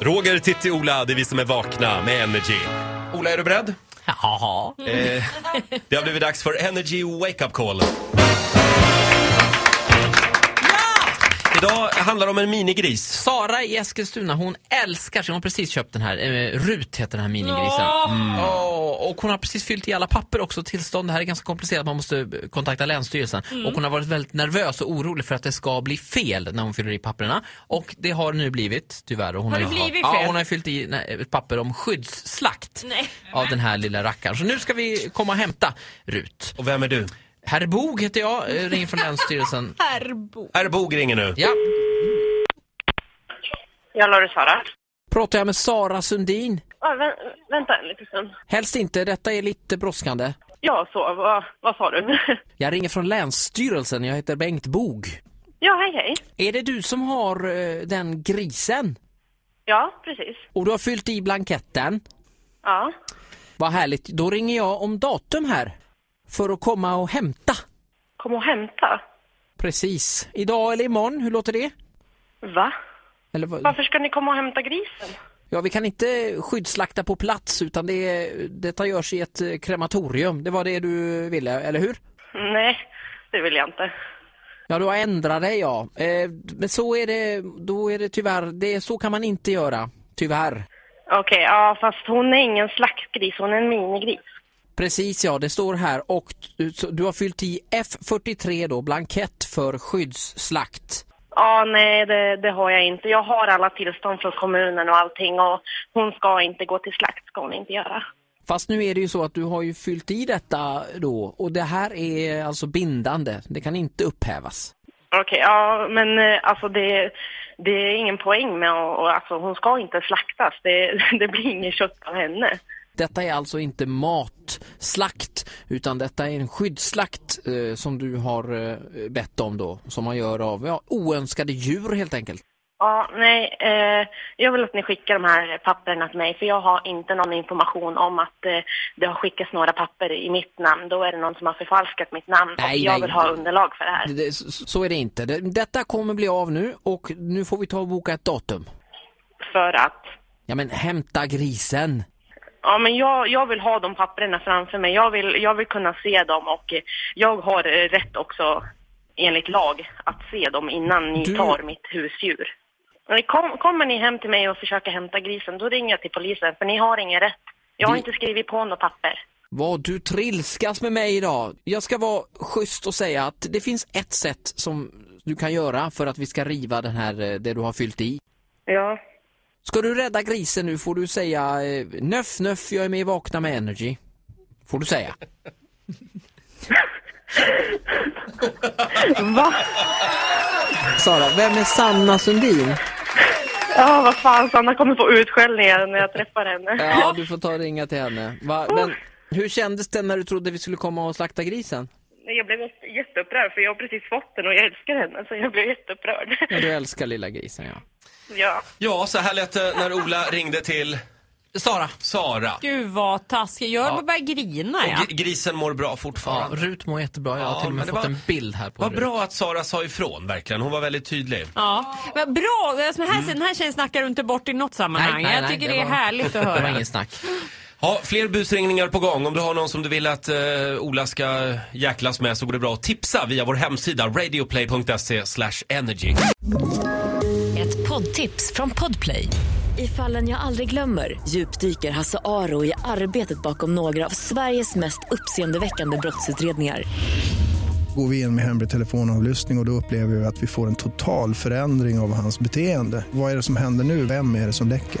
Roger, Titti, Ola, det är vi som är vakna med Energy. Ola, är du beredd? Jaha. Eh, det har blivit dags för Energy Wake Up Call. Idag handlar det om en minigris. Sara i Eskilstuna, hon älskar sig. Hon har precis köpt den här, eh, Rut heter den här minigrisen. Åh, och hon har precis fyllt i alla papper också, tillstånd. Det här är ganska komplicerat, man måste eh, kontakta Länsstyrelsen. Mm. Och hon har varit väldigt nervös och orolig för att det ska bli fel när hon fyller i papperna. Och det har nu blivit, tyvärr. Och Hon Har det ju- blivit Ja, fel? hon har ju fyllt i nej, ett papper om skyddsslakt Nej. av den här lilla rackaren. Så nu ska vi komma och hämta Rut. Och vem är du? Herr Bog heter jag, eh, ringer från Länsstyrelsen. Herbo. Är Bog ringer nu. Ja, Ja, Laura Sara. pratar jag med Sara Sundin? Ja, vä vänta en liten stund. Helst inte, detta är lite brådskande. Ja, så. Vad, vad sa du? Jag ringer från Länsstyrelsen, jag heter Bengt Bog. ja, hej, hej. Är det du som har eh, den grisen? Ja, precis. Och du har fyllt i blanketten? Ja. Vad härligt, då ringer jag om datum här. För att komma och hämta. Kom och hämta. Precis. Idag eller imorgon, hur låter det? Va? Eller vad? Varför ska ni komma och hämta grisen? Ja, vi kan inte skyddsslakta på plats utan det, är- detta görs i ett eh, krematorium. Det var det du ville, eller hur? Nej, det vill jag inte. Ja, du har ändrat dig ja. Eh, men så är det, då är det tyvärr, det, så kan man inte göra. Tyvärr. Okej, ja, fast hon är ingen slaktgris, hon är en minigris. Precis ja, det står här och t- så du har fyllt i F43 då, blankett för skyddsslakt. Ja, nej, det, det har jag inte. Jag har alla tillstånd från kommunen och allting och hon ska inte gå till slakt, ska hon inte göra. Fast nu är det ju så att du har ju fyllt i detta då och det här är alltså bindande, det kan inte upphävas. Okej, ja, men eh, alltså det, det är ingen poäng med att, och, alltså hon ska inte slaktas. Det, det blir ingen kött av henne. Detta är alltså inte matslakt utan detta är en skyddsslakt eh, som du har eh, bett om då, som man gör av ja, oönskade djur helt enkelt. Ja, nej, eh, jag vill att ni skickar de här papperna till mig för jag har inte någon information om att eh, det har skickats några papper i mitt namn. Då är det någon som har förfalskat mitt namn och Nej, jag nej. vill ha underlag för det här. Det- det- så- Så är det inte. Det- Detta kommer bli av nu och nu får vi ta och boka ett datum. För att, Ja men hämta grisen! ja men jag, jag vill ha de papperna framför mig. Jag vill, jag vill kunna se dem och eh, jag har eh, rätt också enligt lag att se dem innan ni Du- tar mitt husdjur. Men Kom, kommer ni hem till mig och försöker hämta grisen, då ringer jag till polisen för ni har ingen rätt. Jag har Det- inte skrivit på något papper. Vad du trilskas med mig idag! Jag ska vara schysst och säga att det finns ett sätt som du kan göra för att vi ska riva den här, eh, det du har fyllt i. Ja. Ska du rädda grisen nu får du säga eh, nöff nöff jag är med i Vakna med Energy. Får du säga. Va? Sara, vem är Sanna Sundin? Ja, vad fan, Sanna kommer få utskällningar när jag träffar henne. Ja, du får ta och ringa till henne. Va? Men hur kändes det när du trodde vi skulle komma och slakta grisen? Jag blev jätteupprörd för jag har precis fått den och jag älskar henne så jag blev jätteupprörd. Ja, du älskar lilla grisen ja. Ja. Ja, så här lät det när Ola ringde till Sara. Sara. Gud vad taskig. Jag ja. börjar grina Och ja. gr- grisen mår bra Ja, fortfarande. Rut mår jättebra. Jag har Ja, till och men med det fått var- en bild här på Vad Rut. bra att Sara sa ifrån, verkligen. Hon var väldigt tydlig. ja. Men bra, alltså, här, den här tjejen snackar du inte bort i något sammanhang. Mm. Nej, nej, jag nej, tycker det det, är var- härligt att Det var höra. ingen snack. Ja, fler busringningar på gång. Om du har någon som du vill att eh, Ola ska jäklas med så går det bra att tipsa via vår hemsida radioplay.se slash energy. Ett poddtips från Podplay. I fallen jag aldrig glömmer djupdyker Hasse Aro i arbetet bakom några av Sveriges mest uppseendeväckande brottsutredningar. Går vi in med hemlig telefonavlyssning och, och då upplever vi att vi får en total förändring av hans beteende. Vad är det som händer nu? Vem är det som läcker?